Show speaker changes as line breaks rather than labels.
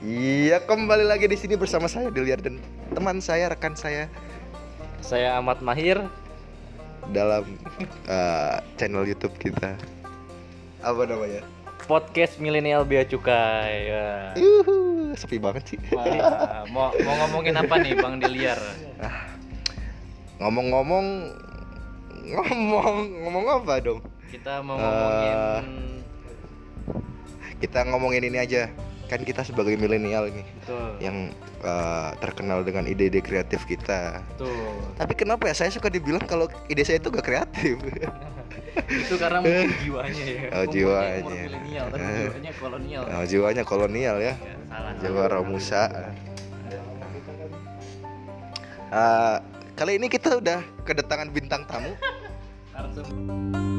Iya, kembali lagi di sini bersama saya Diliar dan teman saya, rekan saya
Saya Ahmad Mahir.
dalam eh, channel YouTube kita. Apa namanya?
Podcast Milenial Bea Cukai. Ya.
Yuhu, sepi banget sih.
Wah, mau, mau ngomongin apa nih Bang Diliar?
Ngomong-ngomong ngomong ngomong apa dong?
Kita mau ngomongin
Eh. Kita ngomongin ini aja. Kan kita sebagai milenial ini
betul.
ya.
yang eh, terkenal dengan ide-ide kreatif kita.
Betul.
Tapi kenapa ya saya suka dibilang kalau ide saya itu gak kreatif?
Itu karena mungkin jiwanya ya.
Oh,
Umurnya
jiwanya.
umur milenial, tapi
Eh.
jiwanya kolonial.
Nah, jiwanya kolonial ya.
Ya, salah.
Jawa Romusa. Eh, kali ini kita udah kedatangan bintang tamu.
Langsung.